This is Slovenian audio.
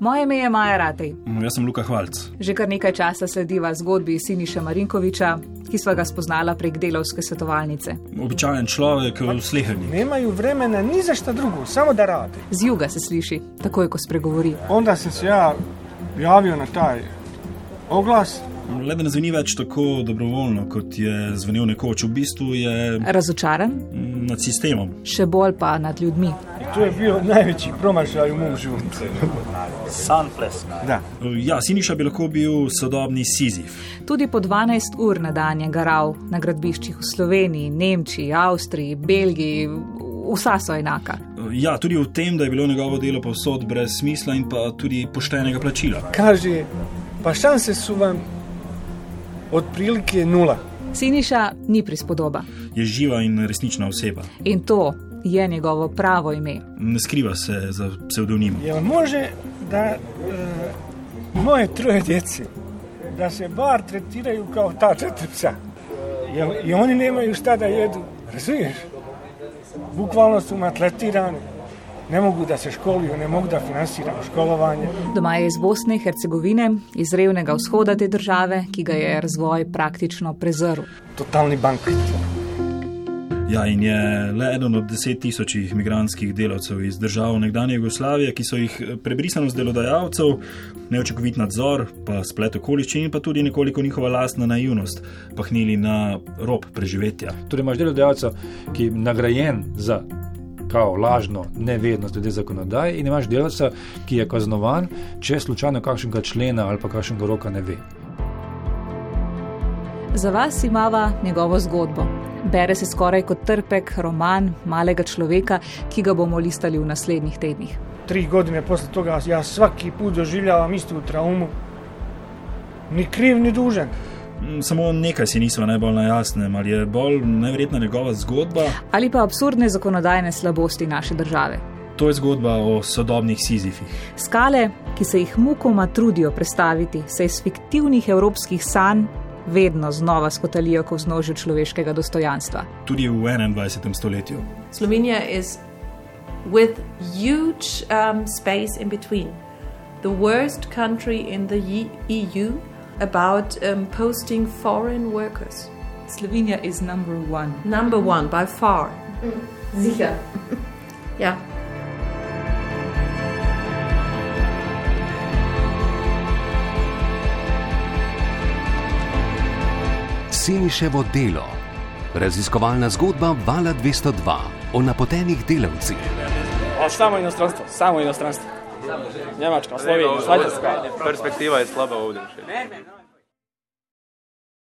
Moje ime je Maja Ratej. Mm, Jaz sem Luka Hvalc. Že kar nekaj časa slediva zgodbi Siniša Marinkoviča, ki sva ga spoznala prek delovske svetovalnice. Običajen človek v slehrni. Nemaju vremena ni za šta drugo, samo da rade. Z juga se sliši, takoj ko spregovori. Onda sam se ja javio na taj oglas. Le da ne zveni več tako dobrovoljno, kot je zvenel nekoč. V bistvu je Razočaran, mm, nad sistemom. še bolj pa nad ljudmi. To je bio najveći promašaj u mom životu. Sunflesk. Da. Ja, Siniša bi lahko bil sodobni Sizif. Tudi po 12 ur na dan je garal na gradbiščih v Sloveniji, Nemčiji, Avstriji, Belgiji, vsa so enaka. Ja, tudi v tem, da je bilo njegovo delo povsod brez smisla in pa tudi poštenega plačila. Kaže, pa šanse su vam otprilike nula. Siniša ni prispodoba Je živa in resnična oseba. in to je njegovo pravo ime. Ne skriva se za psevdonimom. Jel može da e, moje troje djece, da se bar tretiraju kao ta četiri psa? Jel, I oni nemaju šta da jedu, razumiješ? Bukvalno su matletirani, ne mogu da se školuju, ne mogu da finansiram školovanje. Doma je iz Bosne in Hercegovine, iz revnega vzhoda te države, ki ga je razvoj praktično prezrl. Totalni bankrot. Ja, in je le eden od deset tisočih migranskih delavcev iz držav nekdanje Jugoslavije, ki so jih prebrisanost delodajalcev, neočakovit nadzor, pa splet okoliščin in pa tudi nekoliko njihova lastna naivnost pahnili na rob preživetja. Torej, imaš delodajalca, ki je nagrajen za kao, lažno nevednost glede zakonodaje, in imaš delavca, ki je kaznovan, če slučajno kakšnega člena ali pa kakšnega roka ne ve. Za vas imava njegovo zgodbo. Bere se skoraj kot trpek roman malega človeka, ki ga bomo listali v naslednjih tednih. Tri godine posle toga ja svaki put doživljavam istu traumu. Ni kriv, ni dužen. Mm, Samo nekaj si nismo najbolj na jasnem, ali je bolj neverjetna njegova zgodba. Ali pa absurdne zakonodajne slabosti naše države. To je zgodba o sodobnih Sizifih. Skale, ki se jih mukoma trudijo prestaviti, se iz fiktivnih evropskih sanj vedno znova skotalijo k vznožju človeškega dostojanstva. Tudi v 21. stoletju. Slovenia is with huge um, space in between. The worst country in the Ye- EU about um, posting foreign workers. Slovenija je number one. Number one by far. Sicher. yeah. Siniševo delo. Raziskovalna zgodba Vala 202 o napotenih delavcih. A samo inostranstvo, samo inostranstvo. Njemačka, Slovenija, Švajcarska. Perspektiva je slaba ovdje.